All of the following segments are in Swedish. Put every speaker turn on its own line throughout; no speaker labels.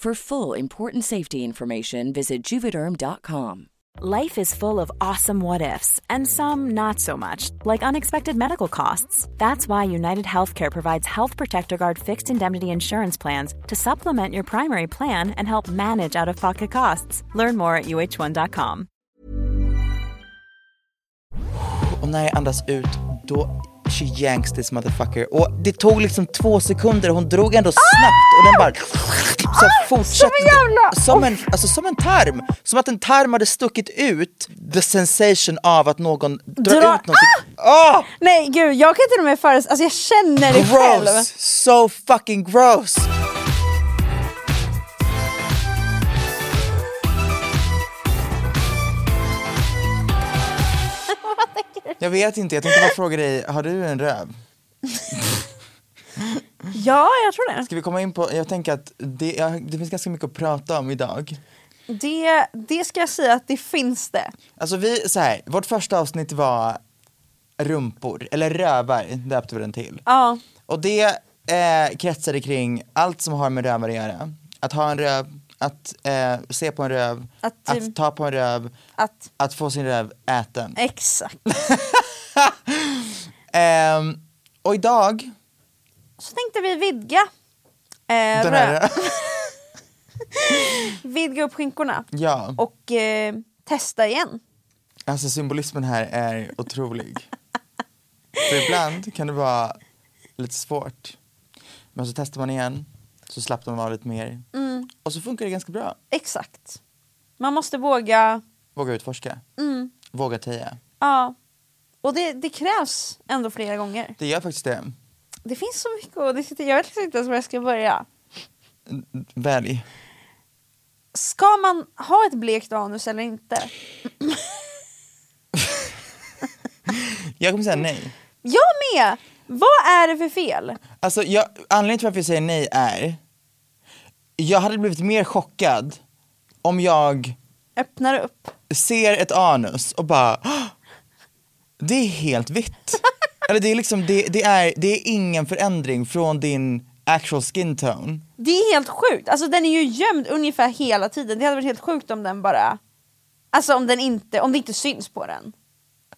For full important safety information, visit juvederm.com.
Life is full of awesome what ifs, and some not so much, like unexpected medical costs. That's why United Healthcare provides Health Protector Guard fixed indemnity insurance plans to supplement your primary plan and help manage out of pocket costs. Learn more at uh1.com.
Och när jag andas ut, då she yanks this motherfucker. Och det tog liksom två sekunder, hon drog ändå snabbt och den bara... Så här fortsatte.
Ah! som en jävla-
Som en, alltså, som en tarm! Som att en tarm hade stuckit ut the sensation av att någon drar
Dra-
ut någonting. Ah!
Nej gud, jag kan till och med föreställa alltså jag känner det själv.
Gross! So fucking gross! Jag vet inte, jag tänkte bara fråga dig, har du en röv?
Ja, jag tror det.
Ska vi komma in på, jag tänker att det, jag- det finns ganska mycket att prata om idag.
det. Det ska jag säga att det finns det.
Alltså vi, så här, vårt första avsnitt var rumpor, eller rövar döpte vi den till.
Ja.
Och det eh, kretsade kring allt som har med rövar att göra. Att ha en röv, att eh, se på en röv,
Att,
att,
ehm,
ta på en röv,
Att, Eh.
att få sin röv äten.
exakt.
Ehm, och idag,
Så tänkte vi vidga. Eh,
den här
rö-
röv,
vidga upp skinkorna.
ja,
Och eh, testa igen.
alltså symbolismen här är otrolig. För ibland kan det vara lite svårt. Men så testar man igen, så slappnar man av lite mer.
Mm.
Och så funkar det ganska bra.
Exakt. Man måste våga.
Våga utforska,
Mm,
våga teja.
ja. Och det, det krävs ändå flera gånger.
Det gör faktiskt det.
Det finns så mycket och det sitter, jag vet liksom inte ens var jag ska börja.
Välj.
Ska man ha ett blekt anus eller inte?
Jag kommer säga nej.
Jag med! Vad är det för fel?
Alltså, jag, anledningen till varför jag säger nej är, jag hade blivit mer chockad om jag
Öppnar upp.
ser ett anus och bara, "Åh, det är helt vitt. Eller det är liksom, det, det, är, det är ingen förändring från din actual skin tone.
Det är helt sjukt. Alltså den är ju gömd ungefär hela tiden. Det hade varit helt sjukt om den bara... Alltså om, den inte, om det inte syns på den.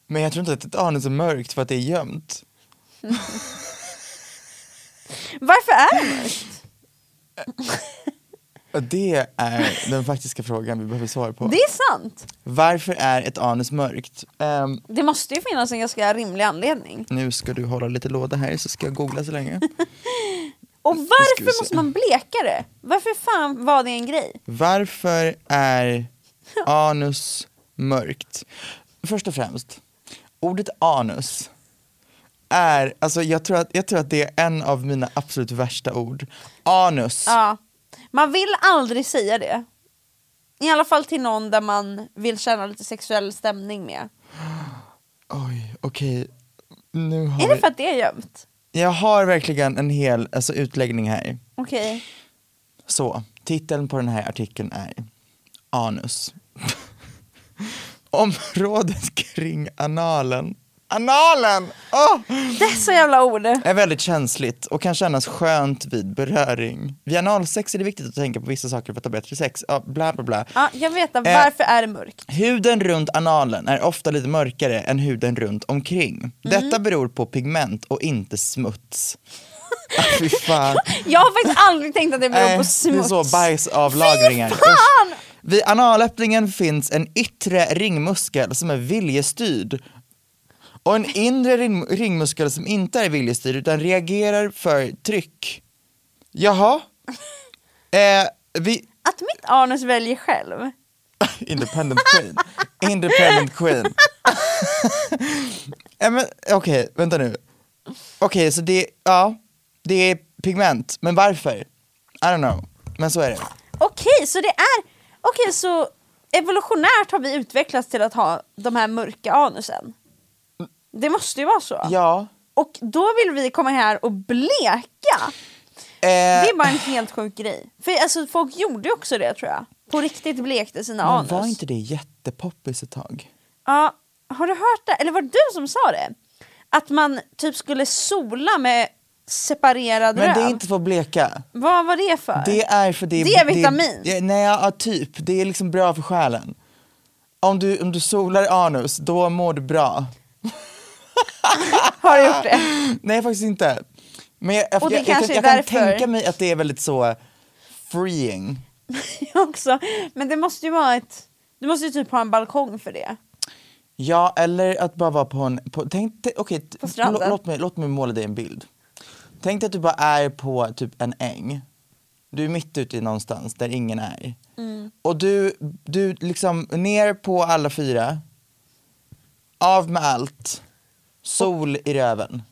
Men jag tror inte att ett anus är mörkt för att det är gömt.
Varför är den mörkt?
Och det är den faktiska frågan vi behöver svar på.
Det är sant.
Varför är ett anus mörkt? Ehm,
Det måste ju finnas en ganska rimlig anledning.
nu ska du hålla lite låda här så ska jag googla så länge.
Och
ska vi
varför
se.
måste man bleka det? Varför fan var det en grej?
Varför är anus mörkt? Först och främst, ordet anus är, alltså jag tror, att, jag tror att det är en av mina absolut värsta ord. Anus.
Ja. Man vill aldrig säga det. I alla fall till någon där man vill känna lite sexuell stämning med.
Oj, okej. Nu har
Är det
vi-
för att det är gömt?
Jag har verkligen en hel alltså, utläggning här.
Okej.
Så, titeln på den här artikeln är Anus. Området kring analen. Analen! Åh!
Dessa jävla ord.
är väldigt känsligt och kan kännas skönt vid beröring. Vid analsex är det viktigt att tänka på vissa saker för att ha bättre sex. Ja, bla bla bla.
Ja, jag vet
Eh.
inte, varför är det mörkt?
Huden runt analen är ofta lite mörkare än huden runt omkring.
Mm.
Detta beror på pigment och inte smuts. Ah, fy fan.
Jag har faktiskt aldrig tänkt att det beror
Nej,
på smuts.
Eh, Det är så bajsavlagringar.
Fy
Usch.
fan!
Vid analöppningen finns en yttre ringmuskel som är viljestyrd och en inre ring- ringmuskel som inte är viljestyrd utan reagerar för tryck. Jaha? Eh, vi...
Att mitt anus väljer själv.
Independent Queen. Independent Queen. Eh, men, Okej, vänta nu. Okej, så det, ja, det är pigment, men varför? I don't know, men så är det.
Okej, så det är... Okej, så evolutionärt har vi utvecklats till att ha de här mörka anusen. Det måste ju vara så.
Ja.
Och då vill vi komma här och bleka.
Eh,
Det är bara en helt sjuk grej. För alltså, folk gjorde ju också det tror jag. På riktigt blekte sina
men
anus.
var inte det jättepoppis ett tag?
Ja, har du hört det? Eller var det du som sa det? Att man typ skulle sola med separerad
Men det är
röv.
inte för att bleka.
Vad var det för?
Det är för det
Det är vitamin.
Det, nej, ja, typ. Det är liksom bra för själen. Om du, om du solar anus, då mår du bra.
Har du gjort det?
Nej, faktiskt inte. Men jag, jag,
Och det
jag, jag,
kanske
kan-
är
jag kan
därför.
tänka mig att det är väldigt så freeing.
Jag också. Men det måste ju vara ett... Du måste ju typ ha en balkong för det.
Ja, eller att bara vara på en... På, tänk, tänk, okej, t-
På stranden.
lå- låt, mig, låt mig måla dig en bild. Tänk dig att du bara är på typ en äng. Du är mitt ute i någonstans där ingen är.
Mm.
Och du, du liksom ner på alla fyra. Av med allt. Sol i röven.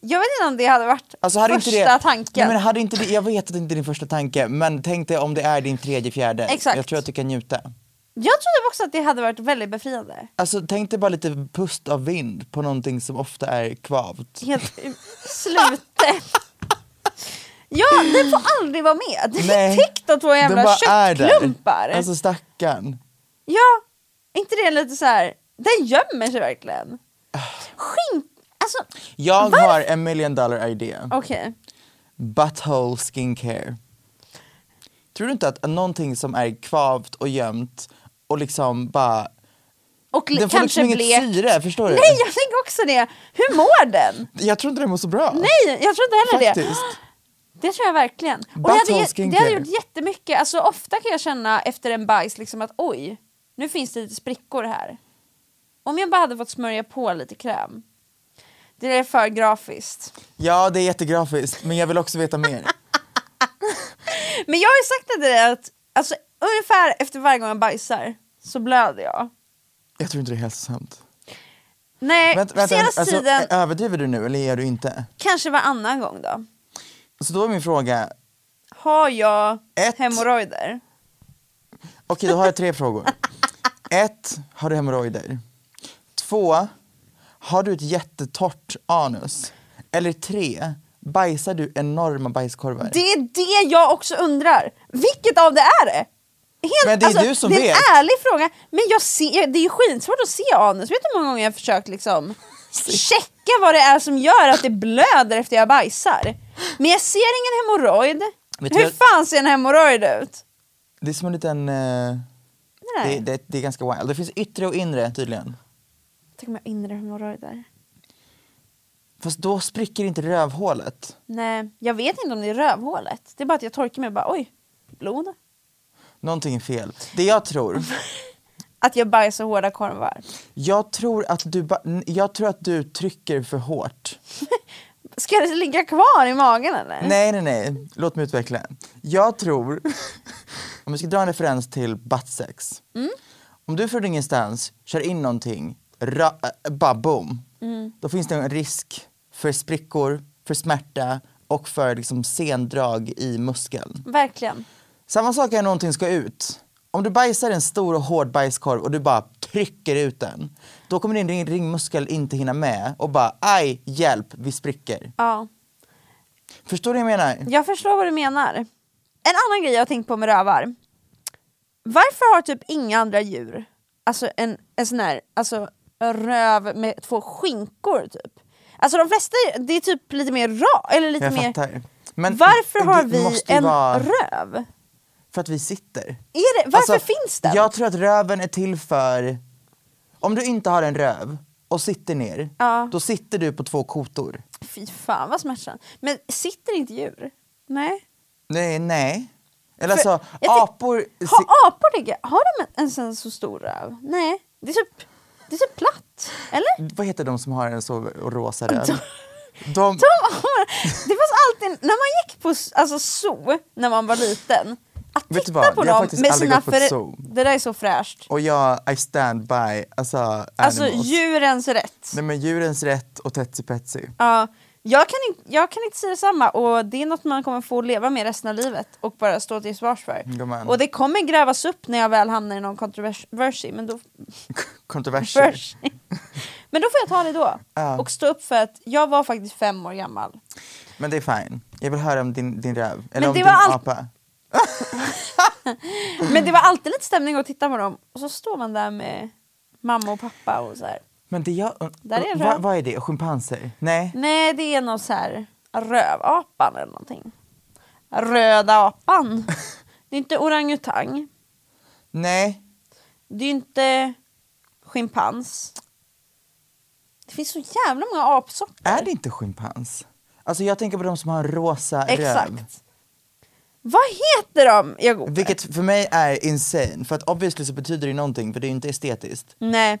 Jag vet inte om det hade varit
Alltså hade
första
inte det,
tanken.
Nej, men hade inte det, jag vet att det inte är din första tanke, men tänk dig om det är din tredje, fjärde.
Exakt.
Jag tror att du kan njuta.
Jag trodde också att det hade varit väldigt befriande.
Alltså tänk dig bara lite pust av vind på någonting som ofta är kvavt.
Helt u- slutet. Ja, det får aldrig vara med. Det är
Nej.
täckt av två
Den
jävla
bara är där.
köttklumpar.
Alltså stackarn.
Ja, är inte det lite så här. Den gömmer sig verkligen. Skink... Alltså,
Jag
Varför?
har en million dollar idé.
okej.
Butthole skincare. Tror du inte att någonting som är kvavt och gömt och liksom bara...
Och li-
Den får
kanske
liksom inget
blek.
syre, förstår du?
Nej, jag tänker också det. Hur mår den?
Jag tror inte det mår så bra.
Nej, jag tror inte heller det.
Faktiskt.
Det tror jag verkligen. Och det,
Butthole
hade, ge- det
skincare.
hade gjort jättemycket. Alltså, ofta kan jag känna efter en bajs liksom att oj, nu finns det lite sprickor här. Om jag bara hade fått smörja på lite kräm. Det är för grafiskt.
Ja, det är jättegrafiskt, men jag vill också veta mer.
Men jag har ju sagt till dig att alltså, ungefär efter varje gång jag bajsar så blöder jag.
Jag tror inte det är hälsosamt.
Nej,
Vänta, vänta,
senaste
alltså,
tiden
Överdriver du nu eller gör du inte?
kanske varannan gång då.
Så då är min fråga,
Har jag
Ett.
hemorrojder?
Okej, då har jag tre frågor. Ett, har du hemorrojder? Två, har du ett jättetort anus? Eller tre, bajsar du enorma bajskorvar?
Det är det jag också undrar. Vilket av det är det? Helt, alltså,
Men det är du som
det är
vet.
en ärlig fråga. Men jag ser, det är ju skitsvårt att se anus. Vet du hur många gånger jag har försökt liksom checka vad det är som gör att det blöder efter jag bajsar? Men jag ser ingen hemorrojd.
Vet du
Hur
vad-
fan ser en hemorrojd ut?
Det är som en liten... eh, det,
Nej.
det, det är ganska wild. Det finns yttre och inre tydligen.
Tänk om jag har inre hemorrojder.
Fast då spricker inte rövhålet.
Nej, jag vet inte om det är rövhålet. Det är bara att jag torkar mig och bara oj, blod.
Någonting är fel. Det jag tror,
Att jag bajsar hårda korvar.
jag tror att du, ba- n- jag tror att du trycker för hårt.
Ska det ligga kvar i magen eller?
Nej, nej, nej. Låt mig utveckla. Jag tror, om vi ska dra en referens till buttsex. Om du från ingenstans kör in någonting, ra, äh, bara boom. Då finns det en risk för sprickor, för smärta och för liksom sendrag i muskeln.
Verkligen.
Samma sak är när någonting ska ut. Om du bajsar en stor och hård bajskorv och du bara trycker ut den. Då kommer din ring- ringmuskel inte hinna med och bara aj, hjälp, vi spricker.
Ja.
Förstår du vad jag menar?
Jag förstår vad du menar. En annan grej jag har tänkt på med rövar. Varför har typ inga andra djur, alltså en, en sån här alltså, röv med två skinkor typ? Alltså de flesta, det är typ lite mer ra, eller lite
Jag
mer...
fattar. Men
Varför har
det
vi
måste ju
en
vara
röv?
För att vi sitter.
Är det, varför
Alltså,
finns den?
Jag tror att röven är till för... Om du inte har en röv och sitter ner,
Ja.
då sitter du på två kotor.
Fy fan vad smärtsamt. Men sitter inte djur? Nej.
Nej, nej. Eller
För-
alltså,
jag ty-
apor... si-
Har apor det? Har de en- en sån så stor röv? Nej. Det är typ, det är typ platt. Eller?
Vad heter de som har en så rosa röv? De,
Det fanns alltid, när man gick på s- alltså, zoo när man var liten, att
Vet du
titta
vad?
på
Jag har
dem
faktiskt
med
aldrig
sina
gått på ett zoo.
Det där är så fräscht.
och jag, I stand by, alltså animals.
Alltså djurens rätt.
Nej men djurens rätt och Tetsi Petsi.
Ja, jag, kan inte, jag kan inte säga detsamma och det är något man kommer få leva med resten av livet och bara stå till svars för.
Gumman.
Och det kommer grävas upp när jag väl hamnar i någon kontroversi, men då,
Kontroverser.
vers. men då får jag ta det då.
Ja.
Och stå upp för att jag var faktiskt fem år gammal.
Men det är fine. Jag vill höra om din, din röv. Eller
Men
om
det
din
var allt-
apa.
Men det var alltid lite stämning att titta på dem och så står man där med mamma och pappa och så här.
Men det jag...
Där är en
vad,
röv.
vad är det? Schimpanser? Nej.
Nej, det är någon så här rövapan eller någonting. Röda apan. Det är inte orangutang.
Nej.
Det är inte schimpans. Det finns så jävla många apsorter.
Är det inte schimpans? Alltså jag tänker på de som har en rosa röv.
Exakt. Vad heter de? Jag googlar.
Vilket för mig är insane. För att obviously så betyder det ju någonting för det är ju inte estetiskt.
Nej,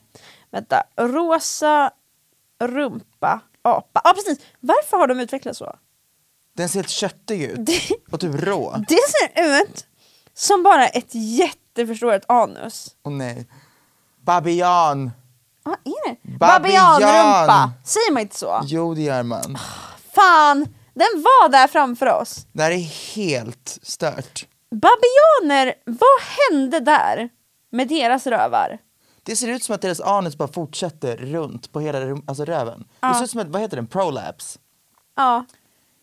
vänta. Rosa rumpa apa. Ja, ah, precis. Varför har de utvecklats så?
Den ser helt köttig ut.
Det-
Och typ rå.
Det ser ut som bara ett jätteförstorat anus.
Åh nej. Babian!
Vad är det?
Babian!
Babianrumpa! Säger man inte så?
Jo det gör man.
Fan! Den var där framför oss.
Det här är helt stört.
Babianer, vad hände där med deras rövar?
Det ser ut som att deras anus bara fortsätter runt på hela rum- alltså röven. Det ser ut som ett, vad heter den, prolapse?
Ja,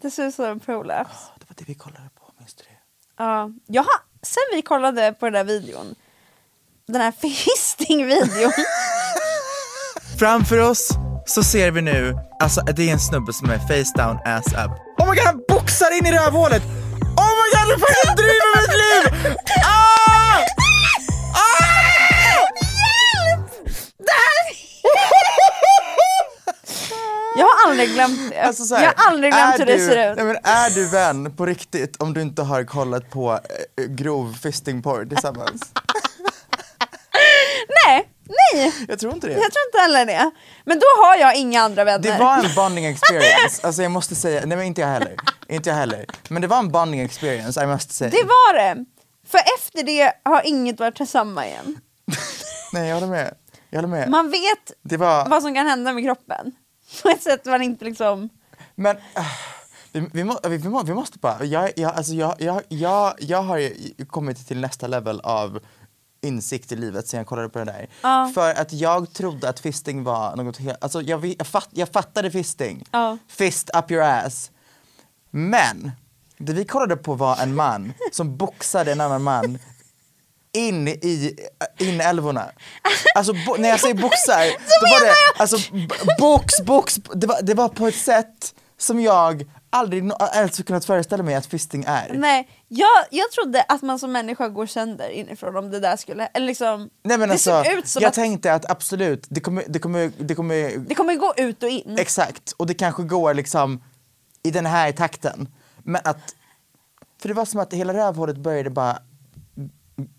det ser ut som en prolaps.
Ja, Det var det vi kollade på, minns du det?
Ja, jag har, sen vi kollade på den där videon, den här fisting-videon.
Framför oss så ser vi nu, alltså det är en snubbe som är face down ass up. Oh my god han boxar in i rövhålet! Oh my god vad fan händer det med mitt liv? Ah!
jag har aldrig glömt det.
Alltså så här,
jag har aldrig
är
glömt hur det
du-
ser ut.
Nej, men är du vän på riktigt om du inte har kollat på eh, grov fisting porr tillsammans?
Nej, nej,
Jag tror inte det.
jag tror inte heller det. Men då har jag inga andra vänner.
Det var en bonding experience, alltså jag måste säga, nej men inte jag heller, inte jag heller. Men det var en bonding experience, I must say.
Det var det. För efter det har inget varit detsamma igen.
Nej jag håller med, jag håller med.
Man vet
det var,
vad som kan hända med kroppen. På ett sätt man inte liksom...
men ah, vi, vi, må, vi, må, vi måste bara, jag, jag, alltså jag, jag, jag, jag har ju kommit till nästa level av insikt i livet sen jag kollade på det där.
Ja.
För att jag trodde att fisting var något helt, alltså jag, vi- jag, fatt, jag fattade fisting.
Ja.
Fist up your ass. Men det vi kollade på var en man som boxade en annan man in i inälvorna. Alltså bo- när jag säger boxar, då var det alltså b- box, box, det var, det var på ett sätt som jag aldrig no- ens kunnat föreställa mig att fisting är. Nej,
Nej, jag, jag trodde att man som människa går sönder inifrån om det där skulle... Eller liksom,
men
det
alltså,
såg ut som
jag
att
tänkte att absolut, det kommer, det kommer, det kommer
det kommer gå ut och in.
Exakt, och det kanske går liksom i den här takten. Men att, för det var som att hela rövhålet började bara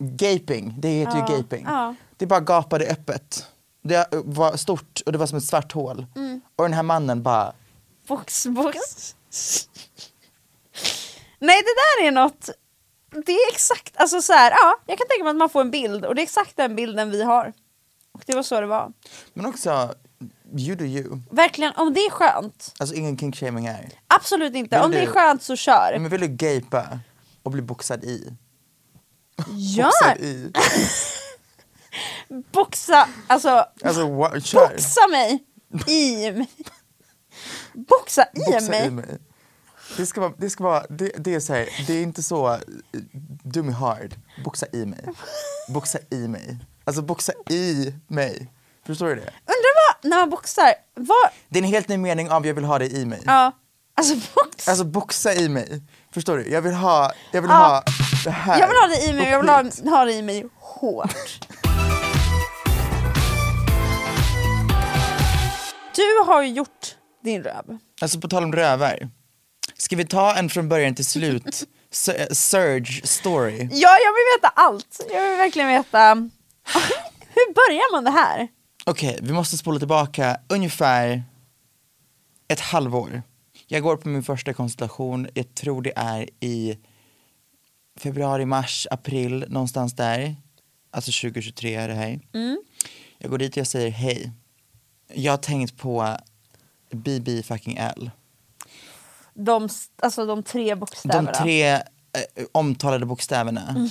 gaping, det heter
Ja,
ju gaping.
ja.
Det bara gapade öppet. Det var stort och det var som ett svart hål.
Mm.
Och den här mannen bara,
Box, box. Nej, det där är något... Det är exakt... Alltså så här, ja, jag kan tänka mig att man får en bild och det är exakt den bilden vi har. Och det var så det var.
men också you do you.
Verkligen, om det är skönt.
Alltså ingen kinkshaming här.
Absolut inte.
Vill
om det är
du-
skönt så kör.
Men vill du gapa och bli boxad i?
Gör!
Boxad i.
boxa, alltså,
Alltså, wow, kör.
boxa mig i mig. Boxa i
Boxa
mig.
i mig. Det ska vara, det ska vara, det, det är så här, det är inte så eh, do me hard. Boxa i mig. Boxa i mig. Alltså boxa i mig. Förstår du det?
Undrar vad, när man boxar, vad,
Det är en helt ny mening av jag vill ha dig i mig.
ja, alltså box.
Alltså boxa i mig. Förstår du? Jag vill ha, jag vill
Ja.
ha det här.
jag vill ha det i mig, jag vill
Upp hit.
ha, ha det i mig hårt. Du har ju gjort din röv.
Alltså på tal om rövar. Ska vi ta en från början till slut su- surge story?
Ja, jag vill veta allt. Jag vill verkligen veta. Hur börjar man det här?
Okej, vi måste spola tillbaka ungefär ett halvår. Jag går på min första konsultation, jag tror det är i februari, mars, april, någonstans där. Alltså 2023 är det här. Jag går dit och jag säger hej. Jag har tänkt på BB fucking L.
De, s- alltså de tre
De
bokstäverna.
tre eh, omtalade bokstäverna.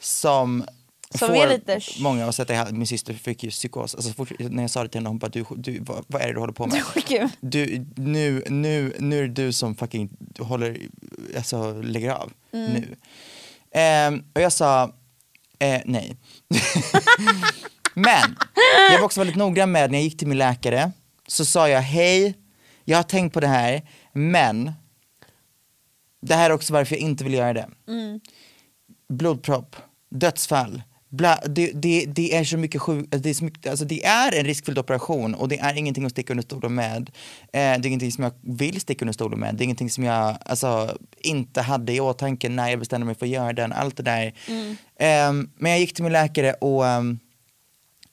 som
Som
får
är lite sh-
många att sätta i hal- Min syster fick ju psykos. Alltså, så fort, när jag sa det till henne, hon bara, du, du, vad, vad är det du håller på med?
Gud.
Du, nu, nu, nu är det du som fucking håller, alltså lägger av. Nu. Ehm, och jag sa, eh, nej. Men jag var också väldigt noggrann med när jag gick till min läkare så sa jag hej, jag har tänkt på det här men det här är också varför jag inte vill göra det. Blodpropp, dödsfall, bla, det, det, det är så mycket sjuk, det, är så mycket, alltså det är en riskfylld operation och det är ingenting att sticka under stolen med. Eh, det är ingenting som jag vill sticka under stolen med. Det är ingenting som jag alltså, inte hade i åtanke när jag bestämde mig för att göra den, allt det där. Ehm, men jag gick till min läkare och ehm,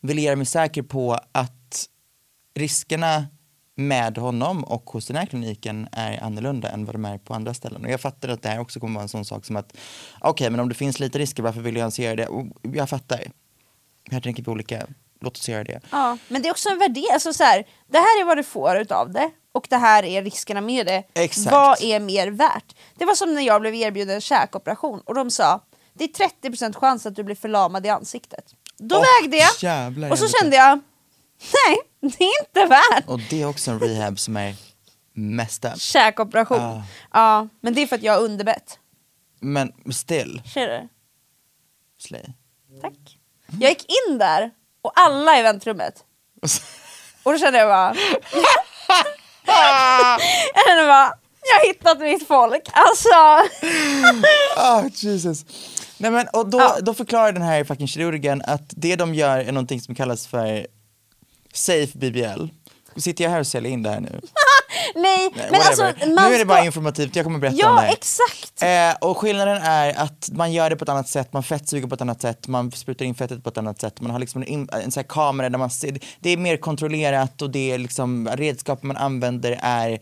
ville göra mig säker på att riskerna med honom och hos den här kliniken är annorlunda än vad de är på andra ställen. Och jag fattar att det här också kommer vara en sån sak som att okej, men om det finns lite risker, varför vill jag ens göra det? Och jag fattar. Här tänker vi olika. Låt oss göra det.
Ja, men det är också en värdering. Alltså så här, det här är vad du får utav det och det här är riskerna med det.
Exakt.
Vad är mer värt? Det var som när jag blev erbjuden en käkoperation och de sa det är 30% chans att du blir förlamad i ansiktet. Då
Åh,
vägde jag
jävlar,
och så
helvete.
kände jag nej, det är inte värt
Och det är också en rehab som är messed up.
käkoperation.
Ah.
Ja, men det är för att jag har underbett.
Men still,
Ser du?
slay.
Tack. Jag gick in där och alla i väntrummet. Och då kände jag bara... jag kände bara, jag har hittat mitt folk. Alltså,
Ah, Jesus. Nej, men, och då,
Ja.
då förklarar den här fucking kirurgen att det de gör är någonting som kallas för safe BBL. Sitter jag här och säljer in det här nu?
nej.
Nej,
men alltså,
whatever.
man
nu är det bara
ska-
informativt, jag kommer berätta om det
Ja,
här.
exakt.
Eh, och skillnaden är att man gör det på ett annat sätt, man fettsuger på ett annat sätt, man sprutar in fettet på ett annat sätt, man har liksom en, in, en sån här kamera där man ser, det är mer kontrollerat och det är liksom redskapen man använder är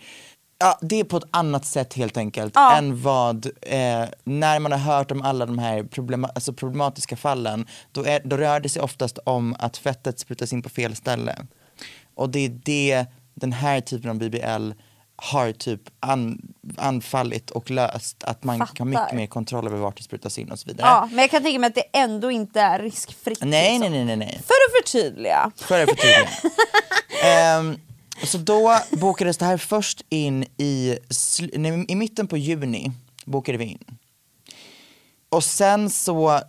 Ja, det är på ett annat sätt helt enkelt
Ja.
än vad, eh, när man har hört om alla de här problema- alltså problematiska fallen, då, är, då rör det sig oftast om att fettet sprutas in på fel ställe. Och det är det den här typen av BBL har typ an, anfallit och löst, att man
Fattar.
kan ha mycket mer kontroll över vart det sprutas in och så vidare.
Ja, men jag kan tänka mig att det ändå inte är riskfritt.
Nej,
liksom.
nej, nej, nej, nej.
För att förtydliga.
För att förtydliga. Ehm, så då bokades det här först in i, sl- nej, i mitten på juni. bokade vi in. Och sen så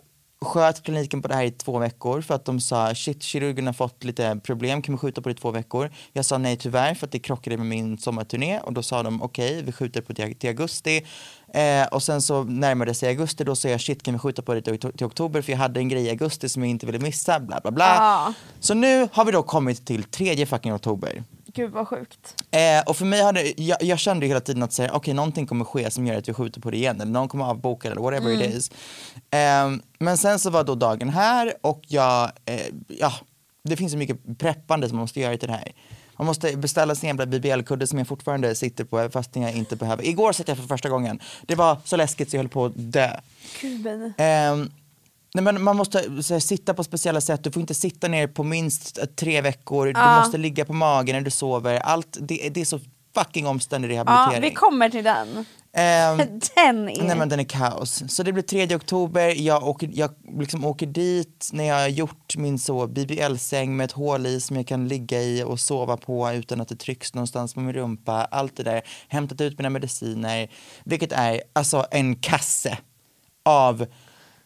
sköt kliniken på det här i två veckor för att de sa shit kirurgen har fått lite problem, kan vi skjuta på det i två veckor? Jag sa nej tyvärr för att det krockade med min sommarturné och då sa de okej vi skjuter på det till augusti eh, och sen så närmade sig augusti då sa jag shit kan vi skjuta på det till, till oktober för jag hade en grej i augusti som jag inte ville missa bla bla bla.
Ja.
Så nu har vi då kommit till tredje fucking oktober.
Gud vad sjukt.
Eh, och för mig hade, jag, jag kände ju hela tiden att säga, okej någonting kommer ske som gör att vi skjuter på det igen eller någon kommer avboka eller whatever it is. Ehm, men sen så var då dagen här och jag, eh, ja det finns så mycket preppande som man måste göra till det här. Man måste beställa sin jävla BBL-kudde som jag fortfarande sitter på fastän jag inte behöver. Igår satt jag för första gången. Det var så läskigt så jag höll på att dö.
Gud, men...
Ehm, nej, men man måste så här, sitta på speciella sätt, du får inte sitta ner på minst eh, tre veckor, du måste ligga på magen när du sover, allt, det, det är så fucking omständig
Ja,
rehabilitering.
vi kommer till den.
Ehm,
Den är...
Nej men den är kaos. Så det blir 3 oktober, jag åker, jag liksom åker dit när jag har gjort min så BBL-säng med ett hål i som jag kan ligga i och sova på utan att det trycks någonstans på min rumpa, allt det där. Hämtat ut mina mediciner, vilket är alltså en kasse av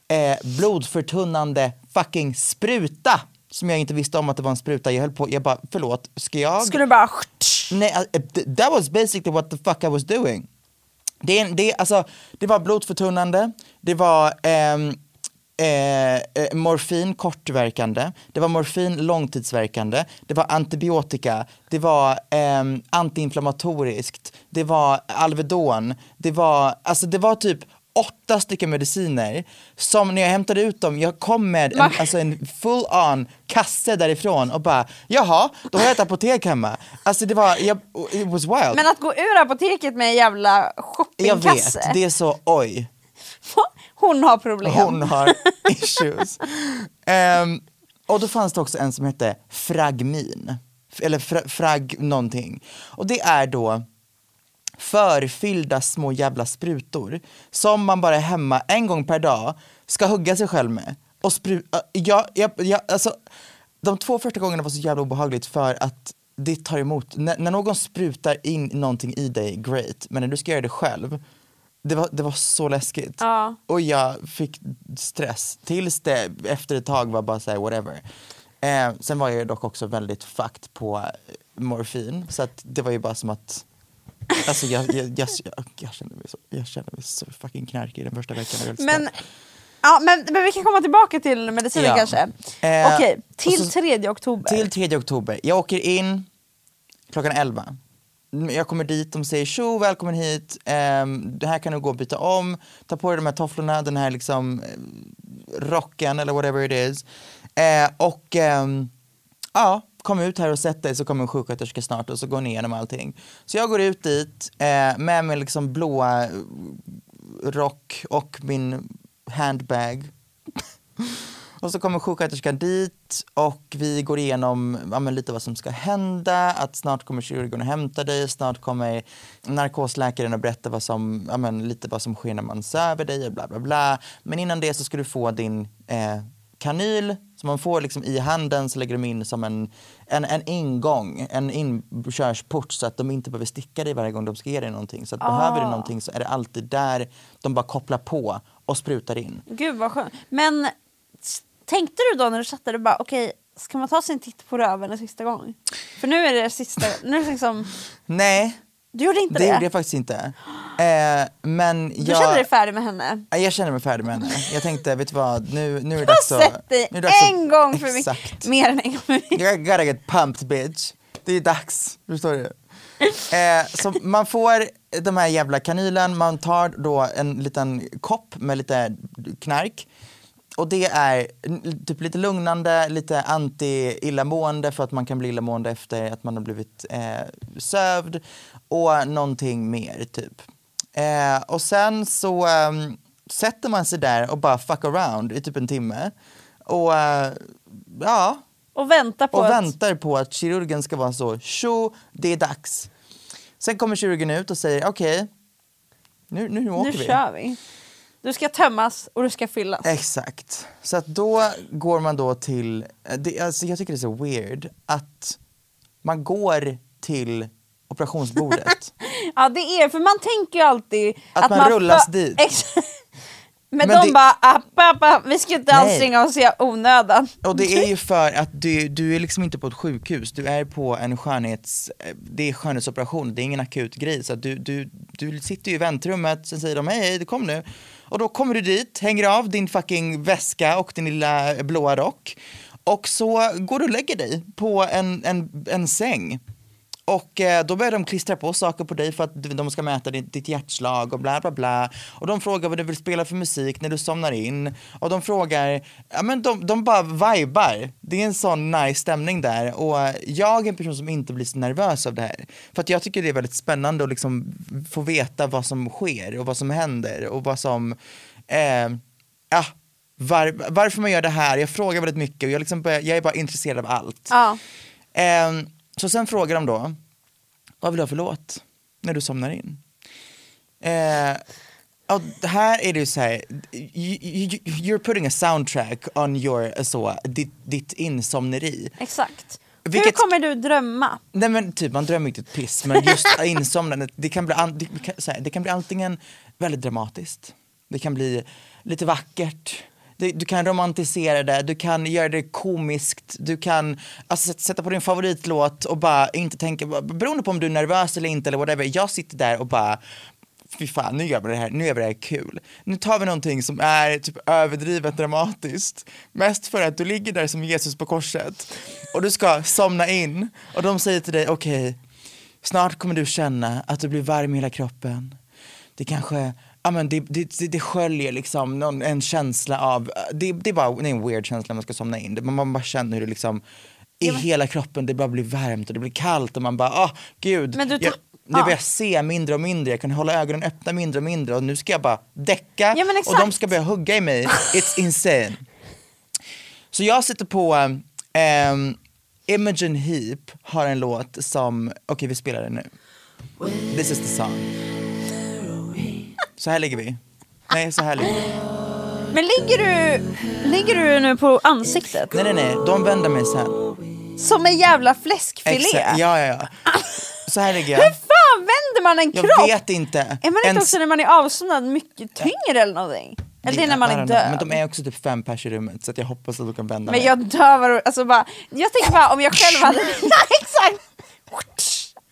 eh, blodförtunnande fucking spruta som jag inte visste om att det var en spruta. Jag höll på, jag bara förlåt, ska jag?
Skulle bara...
Nej, eh, th- that was basically what the fuck I was doing. Det, är en- det, är- alltså, det var blodförtunnande, det var ehm, eh, eh, morfin kortverkande, det var morfin långtidsverkande, det var antibiotika, det var ehm, antiinflammatoriskt, det var Alvedon, det var, alltså det var typ åtta stycken mediciner som när jag hämtade ut dem, jag kom med en, alltså en full on kasse därifrån och bara jaha, då har jag ett apotek hemma. Alltså det var, jag, it was wild.
Men alltså, att gå ur apoteket med en jävla
Jag vet,
shoppingkasse.
det är så oj,
Hon har problem.
hon har issues. Ehm, och då fanns det också en som hette fragmin, F- eller fra, frag någonting. Och det är då förfyllda små jävla sprutor som man bara hemma en gång per dag ska hugga sig själv med. Och spru- äh, jag, jag, jag, alltså, de två första gångerna var så jävla obehagligt för att det tar emot. N- när någon sprutar in någonting i dig, great. Men när du ska göra det själv, det var, det var så läskigt.
Ja.
Och jag fick stress tills det efter ett tag var bara såhär whatever. Eh, sen var jag ju dock också väldigt fucked på eh, morfin så att det var ju bara som att Alltså jag, jag, jag, jag, jag, kände mig så, jag kände mig så fucking knarkig den första veckan. jag höll
Men,
stand.
ja, men, men vi kan komma tillbaka till medicinen
Ja.
kanske.
Eh,
Okej, till
och så-
3 oktober.
Till 3 oktober. Jag åker in klockan 11. Mm, Jag kommer dit, de säger tjo, välkommen hit, Ehm, det här kan du gå och byta om, ta på dig de här tofflorna, den här liksom eh, rocken eller whatever it is. Eh, och ehm, ja, kom ut här och sätt dig så kommer en sjuksköterska snart och så går ni igenom allting. Så jag går ut dit eh, med min liksom blåa eh, rock och min handbag och så kommer sjuksköterskan dit och vi går igenom ja, men lite vad som ska hända, att snart kommer kirurgen och hämta dig, snart kommer narkosläkaren och berätta vad som, ja, men lite vad som sker när man söver dig och bla bla bla. Men innan det så ska du få din eh, kanyl som man får liksom i handen så lägger de in som en, en, en ingång, en inkörsport så att de inte behöver sticka dig varje gång de ska ge dig någonting. Så att behöver du någonting så är det alltid där de bara kopplar på och sprutar in.
Gud vad skönt. Men s- tänkte du då när du satt där, du bara okej, ska man ta sin titt på röven en sista gång? För nu är det sista, nu är det liksom,
Nej,
du gjorde inte
Det
det.
gjorde jag faktiskt inte. Eh, men
du
jag,
kände dig färdig med henne.
Ja, jag kände mig färdig med henne. Jag tänkte, vet du vad, nu, nu är det
Jag
dags
har sett dig
nu är det dags
en gång för mycket,
Exakt.
mer än en gång för mycket.
You gotta get pumped bitch. Det är dags, förstår du? Eh, så man får de här jävla kanylen, man tar då en liten kopp med lite knark. Och det är n- typ lite lugnande, lite anti-illamående för att man kan bli illamående efter att man har blivit eh, sövd. Och någonting mer typ. Eh, och sen så ehm, sätter man sig där och bara fuck around i typ en timme. Och eh, ja,
Och vänta på
och
att...
väntar på att kirurgen ska vara så, tjo, det är dags. Sen kommer kirurgen ut och säger, okej, nu, nu, åker
nu
vi.
kör vi. Du ska tömmas och du ska fyllas.
Exakt. Så att då går man då till, eh, det, alltså jag tycker det är så weird att man går till operationsbordet.
Ja det är för man tänker ju alltid
Att man rullas
fa-
dit.
Exakt.
Men
Men, de
det-
bara app, app, app. vi ska inte
Nej.
anstränga oss i onödan.
Och det är ju för att du, du är liksom inte på ett sjukhus, du är på en skönhets, eh, det är skönhetsoperation, det är ingen akut grej. Så att du, du, du sitter ju i väntrummet, sen säger de hej, hej, kom nu. Och då kommer du dit, hänger av din fucking väska och din lilla blåa rock. Och så går du och lägger dig på en, en, en säng. Och eh, då börjar de klistra på saker på dig för att de ska mäta ditt, ditt hjärtslag och bla bla bla. Och de frågar vad du vill spela för musik när du somnar in. Och de frågar, ja men de, de bara vibar. Det är en sån nice stämning där. Och eh, jag är en person som inte blir så nervös av det här. För att jag tycker det är väldigt spännande att liksom få veta vad som sker och vad som händer och vad som, eh, ja, var, varför man gör det här. Jag frågar väldigt mycket och jag, liksom börjar, jag är bara intresserad av allt.
Ja.
Ehm, så sen frågar de då, vad vill du ha för låt när du somnar in? Eh, och det här är det ju så här, you, you, you're putting a soundtrack on your, så, ditt, ditt insomneri.
Exakt. Hur
Vilket-
kommer du drömma?
Nej men typ man drömmer inte ett piss men just insomnandet det kan bli, an- det kan, så här, det kan bli antingen väldigt dramatiskt, det kan bli lite vackert, det, du kan romantisera det, du kan göra det komiskt, du kan alltså, sätt- sätta på din favoritlåt och bara inte tänka, beroende på om du är nervös eller inte eller whatever, jag sitter där och bara Fy fan, nu gör vi det här, nu gör vi det här kul. Nu tar vi någonting som är typ överdrivet dramatiskt. Mest för att du ligger där som Jesus på korset och du ska somna in och de säger till dig, okej, snart kommer du känna att du blir varm i hela kroppen. Det kanske, ja men det, det, det, det sköljer liksom någon, en känsla av, det, det är bara det är en weird känsla när man ska somna in. Man, man bara känner hur det liksom i hela kroppen, det bara blir varmt och det blir kallt och man bara, ah gud.
Men du
jag,
tapp-
nu
ja.
börjar jag se mindre och mindre, jag kan hålla ögonen öppna mindre och mindre och nu ska jag bara däcka
Ja, men
och de
exakt.
ska börja hugga i mig. It's insane. Så jag sitter på, ehm, Imogen Heap har en låt som, okej vi spelar den nu. This is the song. Så här ligger vi. Nej, så här ligger vi.
Men ligger du, ligger du nu på ansiktet?
Nej, nej, nej, de vänder mig sen.
Som en jävla fläskfilé?
Exakt. Ja, ja, ja. Så här ligger
Hur
jag.
fan vänder man en
Jag
kropp?
vet inte.
Är man inte
En
också när man är avsomnad mycket tyngre eller någonting? Eller det är när man
I don't
är
know.
död?
Men de är också typ fem pers i rummet så att jag hoppas att de kan vända
Men
mig.
jag dör vad alltså bara, jag tänker bara om jag själv hade... ja exakt!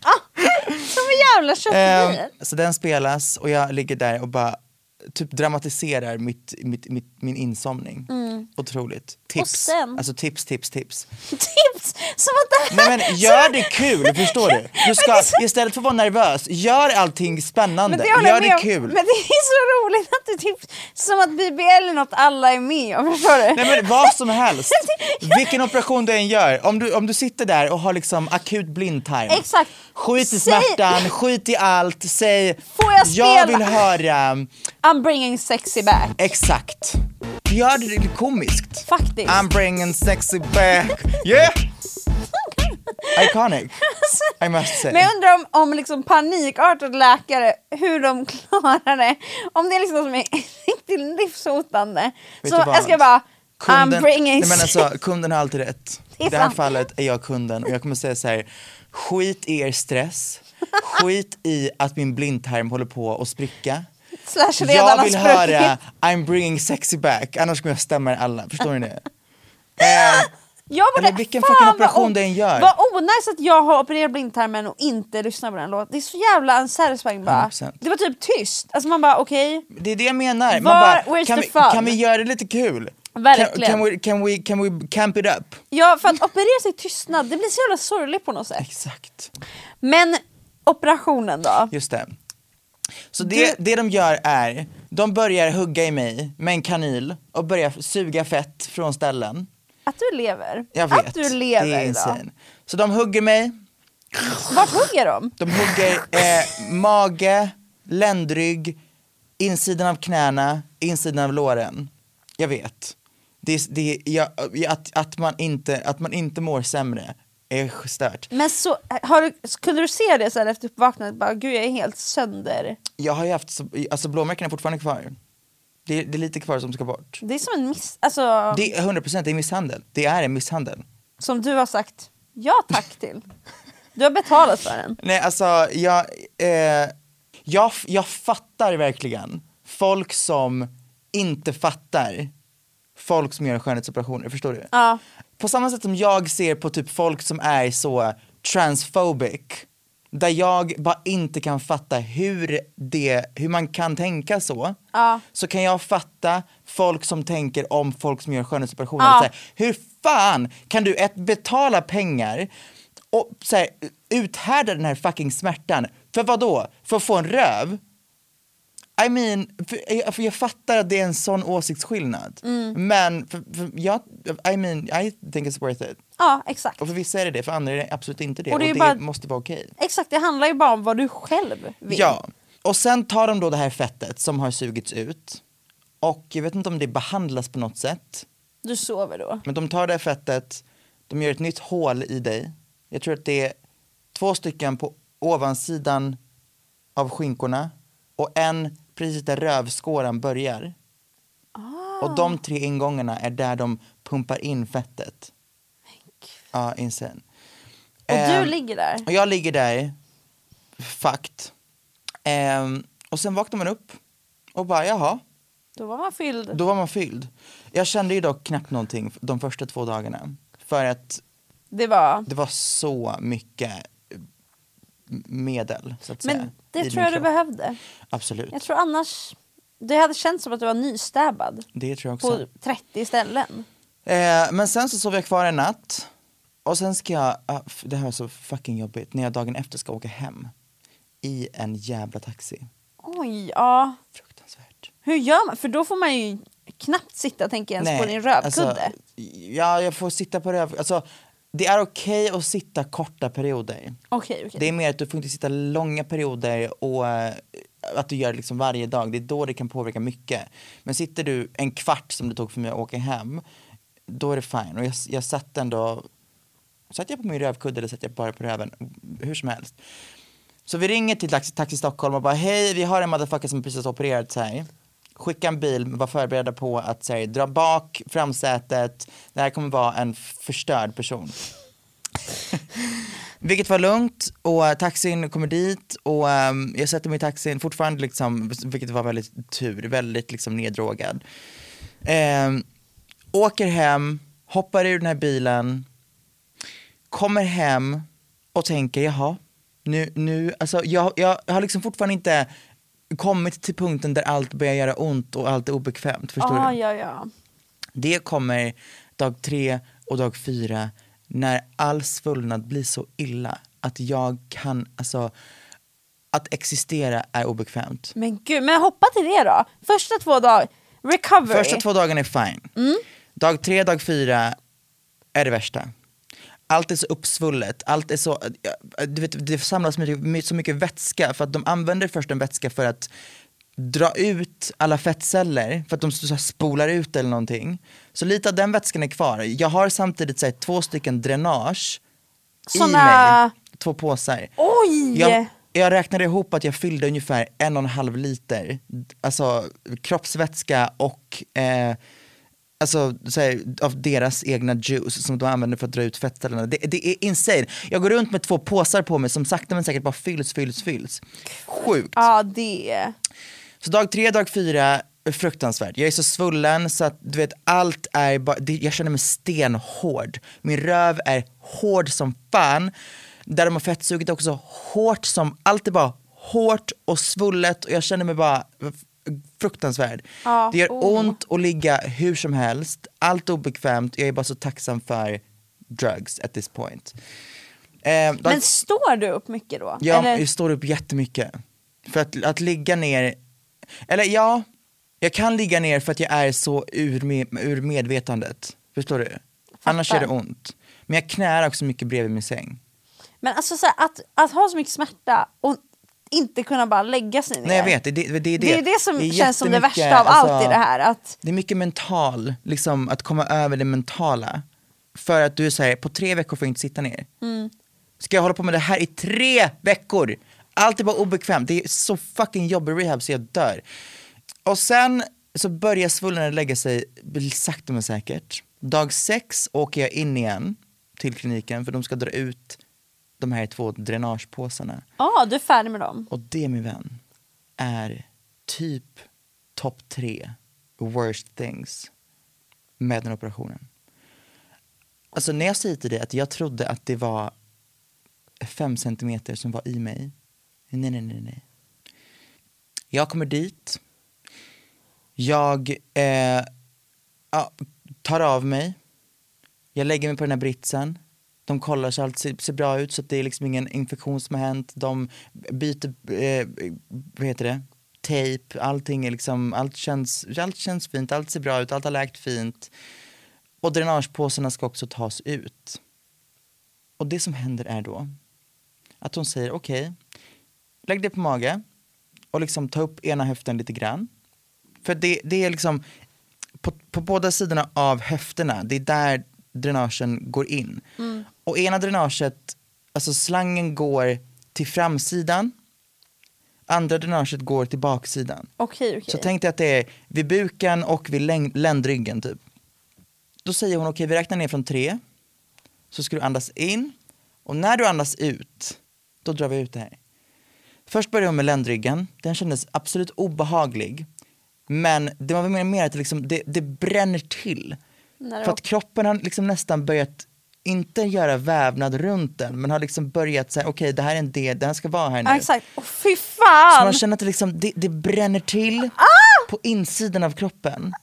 Ah, som en jävla köttbit.
Ehm, så den spelas och jag ligger där och bara typ dramatiserar mitt, mitt, mitt, min insomning. Otroligt. Tips.
Mm. sen-
Alltså tips, tips, tips.
Tips! Som att det här...
Nej men gör det kul, förstår du? Du ska, istället för att vara nervös, gör allting spännande.
men det håller
gör
jag
det
med om.
kul.
Men det är så roligt att du tips... Som att BBL är något alla är med om, förstår du?
Nej men vad som helst. Vilken operation du än gör, om du, om du sitter där och har liksom akut blindtarm.
Exakt.
Skit i
Säg-
smärtan, skit i allt, säg
Får jag
jag
spela?"
vill höra
I'm bringing sexy back.
Exakt. Gör det lite komiskt.
Faktiskt.
I'm bringing sexy back. Yeah! Iconic, I must say.
Men jag undrar om, om liksom panikartade läkare, hur de klarar det. Om det är liksom som är riktigt livshotande.
Vet
så
du vad?
jag ska bara, I'm
Kunden,
bringing
nej men alltså, kunden har alltid rätt.
Det
I
är
det här
sant.
fallet är jag kunden och jag kommer säga så här, skit i er stress, skit i att min blindtarm håller på att spricka.
slash redan
Jag
har
vill
spruckit.
höra I'm bringing sexy back, annars kommer jag stämma er alla, förstår ni det? Eh,
Jag borde,
Eller vilken fucking
vad
operation
o-
du än gör.
Vad onajs att jag har opererat blindtarmen och inte lyssnar på den låten. Det är så jävla unsatisfying bara.
100%.
Det var typ tyst. Alltså man bara okej.
Det är det jag menar. Man
Var-
bara,
where's
kan,
the
vi,
fun?
kan vi göra det lite kul?
Verkligen.
Can, can, we, can, we, can we camp it up?
Ja för att operera sig i tystnad, det blir så jävla sorgligt på något sätt.
Exakt.
Men operationen då?
Just det. Så det, det de gör är, de börjar hugga i mig med en kanyl och börjar suga fett från ställen.
Att du lever.
Jag vet,
att du
det
lever
är
idag.
insane. Så de hugger mig,
Vart hugger de?
de hugger eh, mage, ländrygg, insidan av knäna, insidan av låren. Jag vet. Det, är- det, är- jag, att, att, man inte, att man inte mår sämre är stört.
Men så, eh, har du, kunde du se det sen efter uppvaknandet? Bara, Gud jag är helt sönder.
Jag har ju haft, så- alltså blåmärken är fortfarande kvar. Det, är- det är lite kvar som ska bort.
Det är som en miss... Alltså,
Det är 100% det är misshandel. Det är en misshandel.
som du har sagt ja tack till. Du har betalat för den.
Nej alltså jag, eh, jag, f- jag fattar verkligen folk som inte fattar folk som gör skönhetsoperationer, förstår du?
Ja.
På samma sätt som jag ser på typ folk som är så transphobic, där jag bara inte kan fatta hur, det, hur man kan tänka så,
Ja.
så kan jag fatta folk som tänker om folk som gör skönhetsoperationer.
Ja.
Så här, hur fan kan du ett, betala pengar och så här, uthärda den här fucking smärtan? För vad då? För att få en röv? I mean, för, jag- för jag fattar att det är en sån åsiktsskillnad.
Mm.
Men för, för jag, I mean, I think it's worth it.
Ja, exakt.
Och för vissa är det det, för andra är det absolut inte det.
Och
Och
det
det,
är bara-
måste vara okej.
Exakt, det handlar ju bara om vad du själv vill.
Ja. Och sen tar de då det här fettet som har sugits ut. Och jag vet inte om det behandlas på något sätt.
Du sover då.
Men de tar det här fettet, de gör ett nytt hål i dig. Jag tror att det är två stycken på ovansidan av skinkorna och en precis där rövskåran börjar.
Ah.
Och de tre ingångarna är där de pumpar in fettet. Ja, insane.
Och du
Ehm,
ligger där.
och jag ligger där, fakt. Ehm, och sen vaknar man upp och bara jaha,
Då var man fylld.
då var man fylld. Jag kände ju dock knappt någonting de första två dagarna. För att
Det var...
det var så mycket eh, medel så att säga.
Men
i
det
min
tror jag du
kropp.
behövde.
Absolut,
Jag tror annars... Det hade känts som att du var nystäbbad
det tror jag också.
på 30 ställen.
Eh, men sen så sov jag kvar en natt. Och sen ska jag, ah, f- det här är så fucking jobbigt, när jag dagen efter ska åka hem. I en jävla taxi.
Oj, ja.
Fruktansvärt.
Hur gör man? För då får man ju knappt sitta, tänker jag, ens på din
alltså,
rövkudde.
ja, jag får sitta på röv... Alltså, det är okej att sitta korta perioder.
Okej, okej.
Det är mer att du får inte sitta långa perioder och eh, att du gör det liksom varje dag. Det är då det kan påverka mycket. Men sitter du en kvart som det tog för mig att åka hem, då är det fine. Och jag, jag satt ändå... Satt jag på min rövkudde eller satt jag bara på röven? Hur som helst. Så vi ringer till Taxi, Taxi Stockholm och bara hej, vi har en motherfucker som precis har opererat sig. Skicka en bil, var förberedda på att så här, dra bak framsätet, det här kommer vara en förstörd person. Vilket var lugnt och eh, taxin kommer dit och ehm, jag sätter mig i taxin fortfarande liksom, vilket var väldigt tur, väldigt liksom neddrogad. Ehm, åker hem, hoppar ur den här bilen, kommer hem och tänker jaha, nu, nu, alltså jag, jag har liksom fortfarande inte kommit till punkten där allt börjar göra ont och allt är obekvämt, förstår
Ah,
du?
ja, ja.
Det kommer dag tre och dag fyra när all svullnad blir så illa att jag kan, alltså att existera är obekvämt.
Men gud, men hoppa till det då. Första två dagar, recovery.
Första två dagarna är fine. Dag tre, dag fyra är det värsta. Allt är så uppsvullet, allt är så, du vet, det samlas mycket- så mycket vätska för att de använder först en vätska för att dra ut alla fettceller för att de så här spolar ut eller någonting. Så lite av den vätskan är kvar. Jag har samtidigt så här, två stycken dränage i
Såna-
mig, två påsar.
Oj!
Jag, jag räknade ihop att jag fyllde ungefär en och en halv liter alltså, kroppsvätska och eh, alltså, så här, av deras egna juice som de använder för att dra ut fettcellerna. Det, det är insane. Jag går runt med två påsar på mig som sakta men säkert bara fylls, fylls, fylls. Sjukt.
Ja, det.
Så dag tre, dag fyra, fruktansvärt. Jag är så svullen så att du vet allt är bara, det- jag känner mig stenhård. Min röv är hård som fan. Där de har fettsugit också hårt som, allt är bara hårt och svullet och jag känner mig bara f- fruktansvärd.
Ja,
det gör
oh.
ont att ligga hur som helst, allt är obekvämt, jag är bara så tacksam för drugs at this point. Eh, dag-
Men står du upp mycket då?
Ja,
Eller-
jag står upp jättemycket. För att, att ligga ner, eller ja, jag kan ligga ner för att jag är så ur, me- ur medvetandet. Förstår du? Annars gör det ont. Men jag knäar också mycket bredvid min säng.
Men alltså så här, att, att ha så mycket smärta och inte kunna bara lägga sig ner.
Nej jag vet, det, det, det är det.
Det är ju det som
är
känns som det
jättemycket,
värsta av allt
alltså,
i det här. Att,
Det är mycket mental, liksom att komma över det mentala. För att du säger på tre veckor får jag inte sitta ner. Ska jag hålla på med det här i tre veckor? Allt är bara obekvämt, det är så fucking jobbig rehab så jag dör. Och sen så börjar svullnaden lägga sig sakta men säkert. Dag sex åker jag in igen till kliniken för de ska dra ut de här två dränagepåsarna.
ja du är färdig med dem.
Och det min vän är typ topp tre worst things med den operationen. Alltså när jag säger till dig att jag trodde att det var fem centimeter som var i mig. Nej, nej, nej, nej. Jag kommer dit. Jag eh, ja, tar av mig. Jag lägger mig på den här britsen. De kollar så allt ser, ser bra ut så att det är liksom ingen infektion som har hänt. De byter, eh, vad heter det, tejp, allting är liksom, allt känns, allt känns fint, allt ser bra ut, allt har läkt fint. Och dränagepåsarna ska också tas ut. Och det som händer är då att hon säger okej, lägg dig på mage och liksom ta upp ena höften lite grann. För det, det är liksom på, på båda sidorna av höfterna, det är där dränagen går in. Och ena dränaget, alltså slangen går till framsidan, andra drenaget går till baksidan.
Okej,
Så
okej.
tänk dig att det är vid buken och vid läng- ländryggen typ. Då säger hon okej vi räknar ner från tre. Så ska du andas in och när du andas ut då drar vi ut det här. Först började hon med ländryggen, den kändes absolut obehaglig. Men det var mer, mer att det, liksom, det, det bränner till.
När det
För att kroppen har liksom nästan börjat, inte göra vävnad runt den, men har liksom börjat säga okej det här är en del, den ska vara här nu.
Ja, exakt. Åh fy
Så
fan!
man känner att det, liksom, det, det bränner till på insidan av kroppen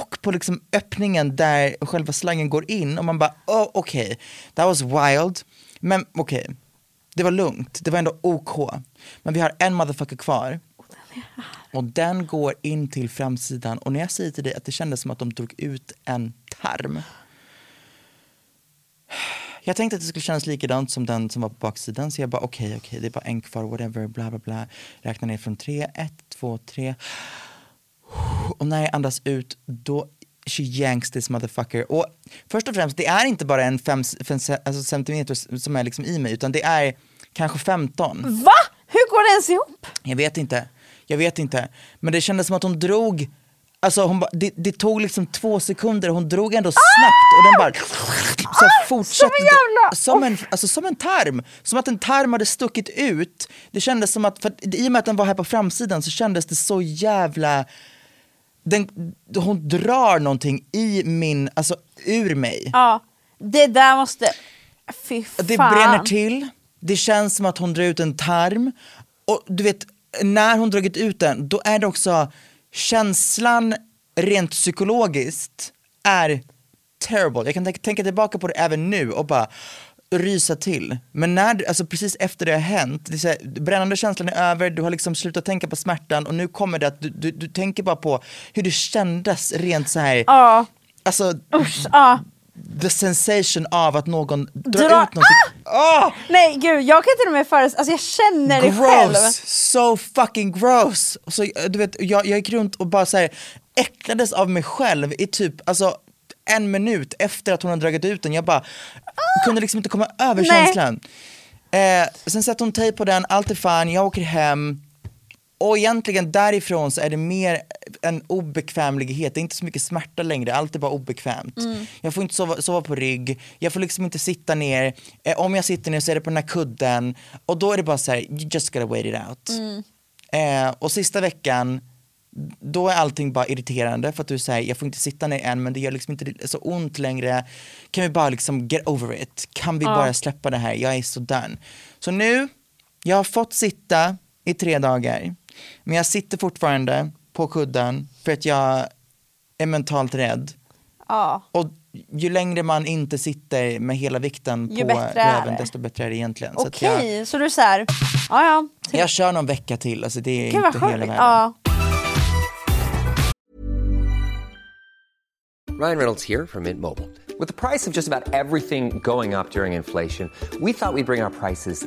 och på liksom öppningen där själva slangen går in och man bara oh, okej, that was wild. Men okej, det var lugnt, det var ändå OK. Men vi har en motherfucker kvar och den går in till framsidan och när jag säger till dig att det kändes som att de drog ut en tarm. Jag tänkte att det skulle kännas likadant som den som var på baksidan så jag bara okej, okej, det är bara en kvar, whatever, bla bla bla. Räkna ner från tre, ett, två, tre. Och när jag andas ut då she yanks this motherfucker. Och först och främst, det är inte bara en fem, fem alltså centimeter som är liksom i mig utan det är kanske 15.
Va? Hur går det ens ihop?
Jag vet inte. Jag vet inte. Men det kändes som att hon drog, alltså hon ba, det, det tog liksom två sekunder, hon drog ändå snabbt och den bara så fortsatte.
Ah! som en jävla-
som en, alltså, som en tarm, som att en tarm hade stuckit ut. Det kändes som att, för att i och med att den var här på framsidan så kändes det så jävla den, hon drar någonting i min, alltså ur mig.
Ja, det där måste... Fy fan.
Det bränner till, det känns som att hon drar ut en tarm och du vet när hon dragit ut den då är det också känslan rent psykologiskt är terrible. Jag kan tänka, tänka tillbaka på det även nu och bara rysa till. Men när, alltså precis efter det har hänt, det är så här, brännande känslan är över, du har liksom slutat tänka på smärtan och nu kommer det att du, du, du tänker bara på hur det kändes rent så här,
Ja,
alltså
usch. Ja.
the sensation av att någon drar
Dra-
ut någonting. Ah!
Nej gud, jag kan till och med föreställa Alltså jag känner det själv.
gross, so fucking gross. Och så, eh, du vet, jag, jag gick runt och bara så här, äcklades av mig själv i typ alltså, en minut efter att hon hade dragit ut den. Jag bara kunde liksom inte komma över
Ah! Nej.
känslan. Eh, sen sätter hon tejp på den, allt är fine, jag åker hem. Och egentligen därifrån så är det mer en obekvämlighet, det är inte så mycket smärta längre, allt är bara obekvämt. Jag får inte sova, sova på rygg, jag får liksom inte sitta ner, eh, om jag sitter ner så är det på den här kudden och då är det bara så här, you just gotta wait it out. Eh, och sista veckan, då är allting bara irriterande för att du säger jag får inte sitta ner än men det gör liksom inte så ont längre. Kan vi bara liksom get over it? Kan vi bara släppa det här? Jag är så done. Så nu, jag har fått sitta i tre dagar men jag sitter fortfarande på kudden för att jag är mentalt rädd.
Ja.
Och ju längre man inte sitter med hela vikten
Ju
på
bättre är
röven
det.
desto bättre är det egentligen. Så att
Okej,
jag,
så du är såhär, ja ja.
jag kör någon vecka till, alltså det är
Gud vad
inte hela
sjukt.
världen.
Ja.
Ryan Reynolds here from Mint Mobile. With the price of just about everything going up during inflation, we thought we'd bring our prices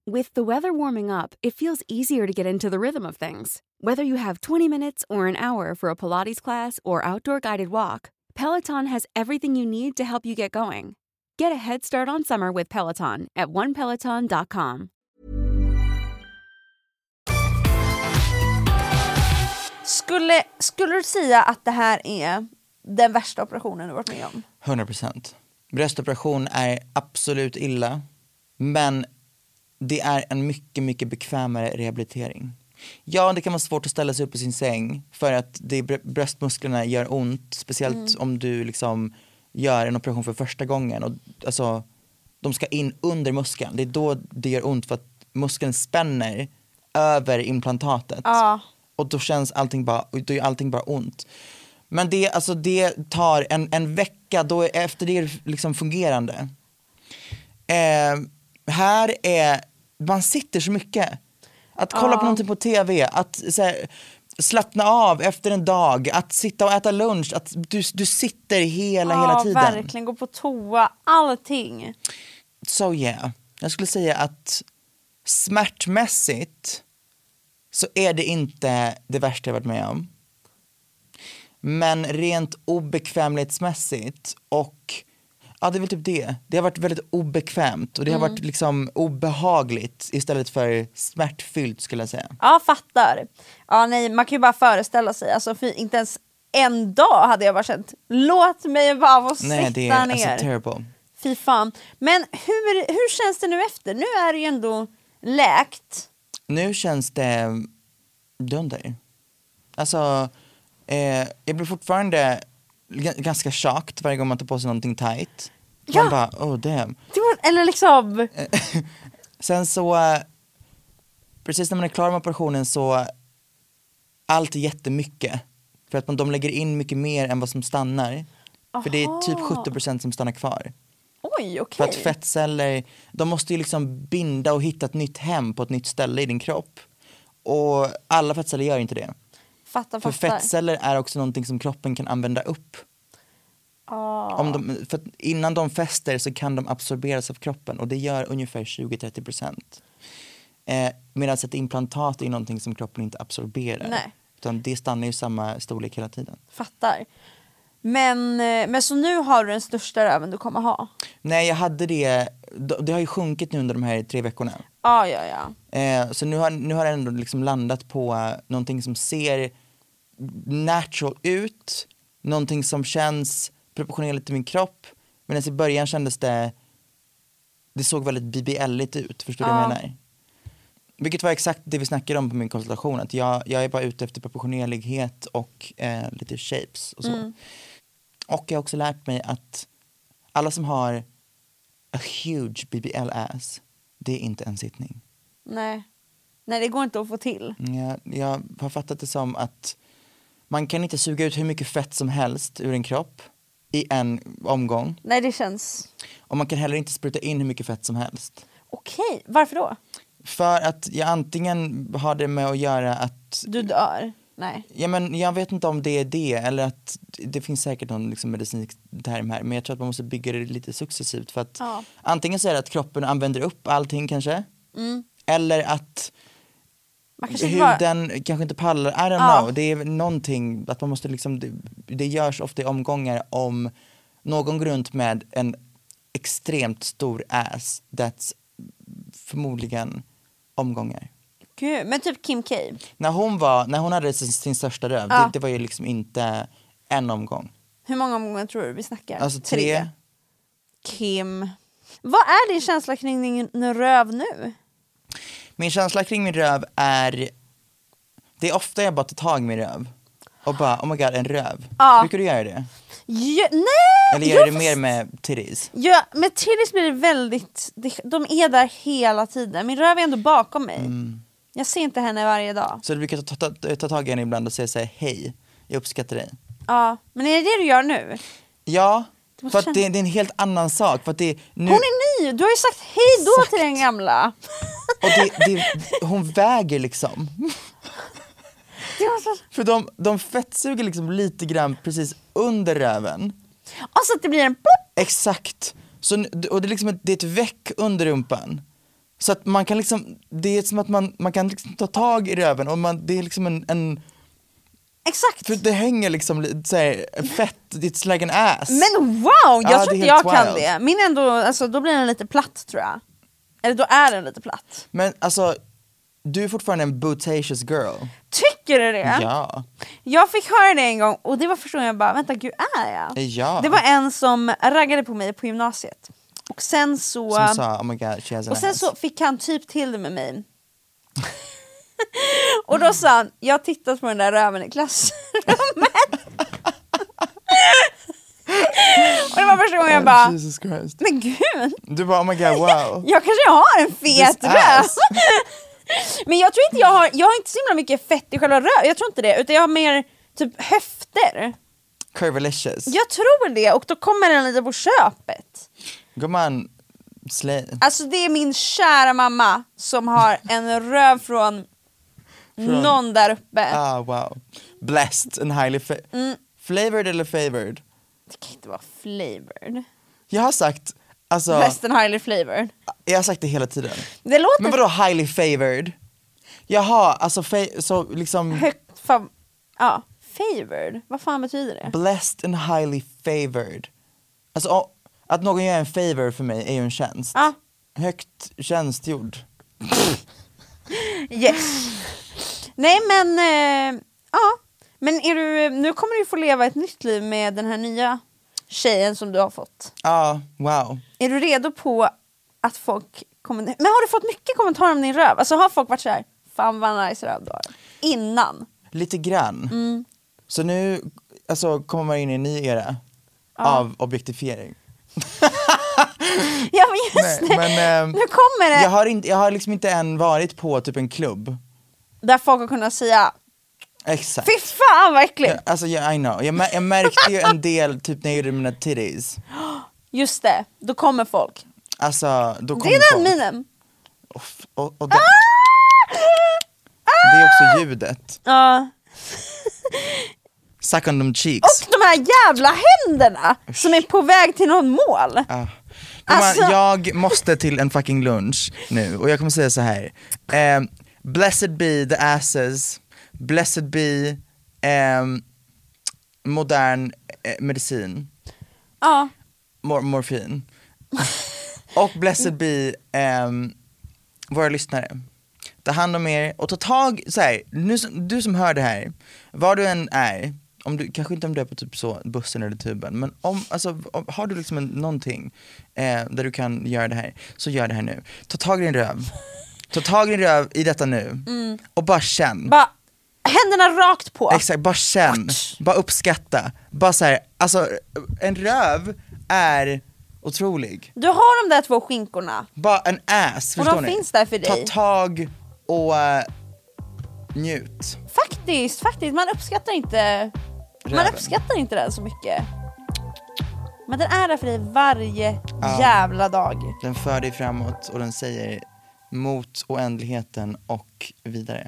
With the weather warming up, it feels easier to get into the rhythm of things. Whether you have 20 minutes or an hour for a Pilates class or outdoor guided walk, Peloton has everything you need to help you get going. Get a head start on summer with Peloton at onepeloton.com.
Skulle, skulle du säga att det här är den värsta operationen du varit med om?
100%. Bröstoperation är absolut illa, men det är en mycket, mycket bekvämare rehabilitering. Ja, det kan vara svårt att ställa sig upp i sin säng för att det, br- bröstmusklerna gör ont, speciellt om du liksom gör en operation för första gången. Och, alltså, de ska in under muskeln, det är då det gör ont för att muskeln spänner över implantatet.
Ja.
Och då känns allting bara, och då gör allting bara ont. Men det, alltså, det tar en, en vecka, då, är- efter det är det liksom fungerande. Eh, här är, man sitter så mycket. Att kolla på någonting på tv, att så här, slappna av efter en dag, att sitta och äta lunch, att du, du sitter hela, hela
Ja,
tiden.
verkligen. Gå på toa, allting.
So yeah, jag skulle säga att smärtmässigt så är det inte det värsta jag varit med om. Men rent obekvämlighetsmässigt och ja det är väl typ det. Det har varit väldigt obekvämt och det har varit liksom obehagligt istället för smärtfyllt skulle jag säga.
Ja, fattar. Ja, nej, man kan ju bara föreställa sig. Alltså, fy, inte ens en dag hade jag bara känt, låt mig bara få
Nej
sitta
det är
ner.
alltså terrible.
Fy fan. Men hur, hur känns det nu efter? Nu är det ju ändå läkt.
Nu känns det dunder. Alltså, eh, jag blir fortfarande g- ganska chockad varje gång man tar på sig någonting tight.
Ja.
Man bara, oh damn.
Det var- Eller liksom,
Sen så, eh, precis när man är klar med operationen så, allt är jättemycket. För att man, de lägger in mycket mer än vad som stannar. För det är typ 70% som stannar kvar.
oj okej.
För att fettceller, de måste ju liksom binda och hitta ett nytt hem på ett nytt ställe i din kropp. Och alla fettceller gör inte det.
Fattar,
För
fattar.
fettceller är också någonting som kroppen kan använda upp. Om de, för att innan de fäster så kan de absorberas av kroppen och det gör ungefär 20-30 procent. Eh, Medan ett implantat är någonting som kroppen inte absorberar.
Nej.
Utan det stannar ju samma storlek hela tiden.
Fattar. Men, eh, men så nu har du den största röven du kommer ha?
Nej jag hade det, det har ju sjunkit nu under de här tre veckorna.
Ja, ja, ja.
Eh, så nu har, nu har jag ändå liksom landat på eh, någonting som ser natural ut, någonting som känns proportionerligt till min kropp. Medan i början kändes det, det såg väldigt BBL-igt ut, förstår du vad jag menar? Vilket var exakt det vi snackade om på min konsultation, att jag, jag är bara ute efter proportionerlighet och eh, lite shapes och så. Och jag har också lärt mig att alla som har a huge BBL-ass, det är inte en sittning.
Nej. Nej, det går inte att få till.
Jag, jag har fattat det som att man kan inte suga ut hur mycket fett som helst ur en kropp i en omgång
Nej, det känns...
och man kan heller inte spruta in hur mycket fett som helst.
Okej, varför då?
För att jag antingen har det med att göra att
Du dör? Nej.
Ja, men jag vet inte om det är det, eller att det finns säkert någon liksom medicinsk term här, men jag tror att man måste bygga det lite successivt för att
Ja.
antingen så är det att kroppen använder upp allting kanske, eller att
Man kanske inte bara...
huden kanske inte pallar, I don't
Ja.
know, det är någonting att man måste liksom, det, det görs ofta i omgångar om någon går runt med en extremt stor ass, that's förmodligen omgångar.
Gud, men typ Kim K.
När hon, var, när hon hade sin, sin största röv,
Ja.
det, det var ju liksom inte en omgång.
Hur många omgångar tror du vi snackar?
Alltså tre.
Kim. Vad är din känsla kring din röv nu?
Min känsla kring min röv är, det är ofta jag bara tar tag i min röv och bara oh my god en röv. Brukar du göra det?
Jo, nej!
Eller gör du
Jo,
det mer med titties?
Ja, med Tillis blir det väldigt... det- De är där hela tiden. Min röv är ändå bakom mig.
Mm.
Jag ser inte henne varje dag.
Så du brukar ta, ta, ta, ta tag i henne ibland och säga så här, hej, jag uppskattar dig.
Ja, men är det det du gör nu?
Ja,
måste
för att
känna-
det, det är en helt annan sak. För att det, nu,
Hon är ny! Du har ju sagt hej då till den gamla.
och det, det, hon väger liksom.
Det var så-
För de, de fettsuger liksom lite grann precis under röven.
Och så att det blir en plopp!
Exakt. Så, n- och det är liksom ett, det är ett väck under rumpan. Så att man kan liksom, det är som att man, man kan liksom ta tag i röven och man, det är liksom en, en
Exakt!
för det hänger liksom lite så här, fett, it's like an ass.
Men wow! Jag
Ja, det
tror
är
inte jag
helt
kan
wild.
det. Min är ändå, alltså, då blir den lite platt tror jag. Eller då är den lite platt.
Men alltså, du är fortfarande en bootatious girl.
Tycker du det?
Ja.
Jag fick höra det en gång och det var första gången jag bara, vänta gud är jag?
Ja.
Det var en som raggade på mig på gymnasiet. Och sen så,
Som sa oh my god she has an
och sen
ass.
så fick han typ till det med mig. Och då sa han, jag har tittat på den där röven i klassrummet. och det var första gången jag bara,
Jesus Christ.
men gud,
Du bara oh my god wow.
jag kanske har en fet
This ass.
röv. men jag tror inte jag har, jag har inte så himla mycket fett i själva röven, jag tror inte det, utan jag har mer typ höfter.
Curvilicious.
Jag tror det, och då kommer den lite på köpet.
Gumman, slay.
Alltså det är min kära mamma som har en röv från, någon där uppe.
Ah wow. Blessed and highly fa-
Mm.
flavored eller favored.
Det kan inte vara flavored.
Jag har sagt, alltså,
Western highly flavored.
jag har sagt det hela tiden.
Det låter
Men vadå highly favored? Jaha, alltså fa- så liksom
högt fa- ja, favored. Vad fan betyder det?
blessed and highly favored. Alltså o- att någon gör en favor för mig är ju en tjänst.
Ja.
Högt tjänstgjord.
Yes. Nej men, eh, ja. Men är du, nu kommer du få leva ett nytt liv med den här nya tjejen som du har fått.
Ja, wow.
Är du redo på att folk kommer... Men har du fått mycket kommentarer om din röv? Alltså har folk varit så här, fan vad nice röv du har? Innan?
Lite grann.
Mm.
Så nu alltså, kommer man in i en ny era av objektifiering.
Ja men just
Nej,
det,
men, ehm,
nu kommer det
Jag har, inte, jag har liksom inte än varit på typ en klubb.
där folk har kunnat säga,
Exakt.
fy fan vad äckligt!
Ja, Alltså yeah, I know, jag, mä- jag märkte ju en del typ när jag gjorde mina titties.
Just det, då kommer folk.
Alltså då kom
Det är den
folk.
minen!
Och, f- och, och det, det är också ljudet.
Ja.
Suck on them cheeks.
Ah! Och de här jävla händerna som är på väg till någon mål.
Ah. Gumman,
Alltså-
Jag måste till en fucking lunch nu och jag kommer säga så här. Ehm, blessed be the asses, blessed be ehm, modern eh, medicin,
Ja.
mor- morfin. och blessed be ehm, våra lyssnare. Ta hand om er och ta tag, så här, nu, som- du som hör det här, var du än är, om du, kanske inte om du är på typ så, bussen eller tuben, men om, alltså, om, har du liksom en, någonting eh, där du kan göra det här, så gör det här nu. Ta tag i din röv, ta tag i din röv i detta nu och bara känn.
Bara, händerna rakt på.
Exakt, bara känn, bara uppskatta, bara så här, alltså en röv är otrolig.
Du har de där två skinkorna.
Bara en ass,
Och
förstår
de
ni?
finns där för
Ta
dig.
tag och eh, njut.
Faktiskt, faktiskt. Man uppskattar inte man
Räven.
uppskattar inte den så mycket. Men den är där för dig varje jävla dag.
Den för dig framåt och den säger mot oändligheten och vidare.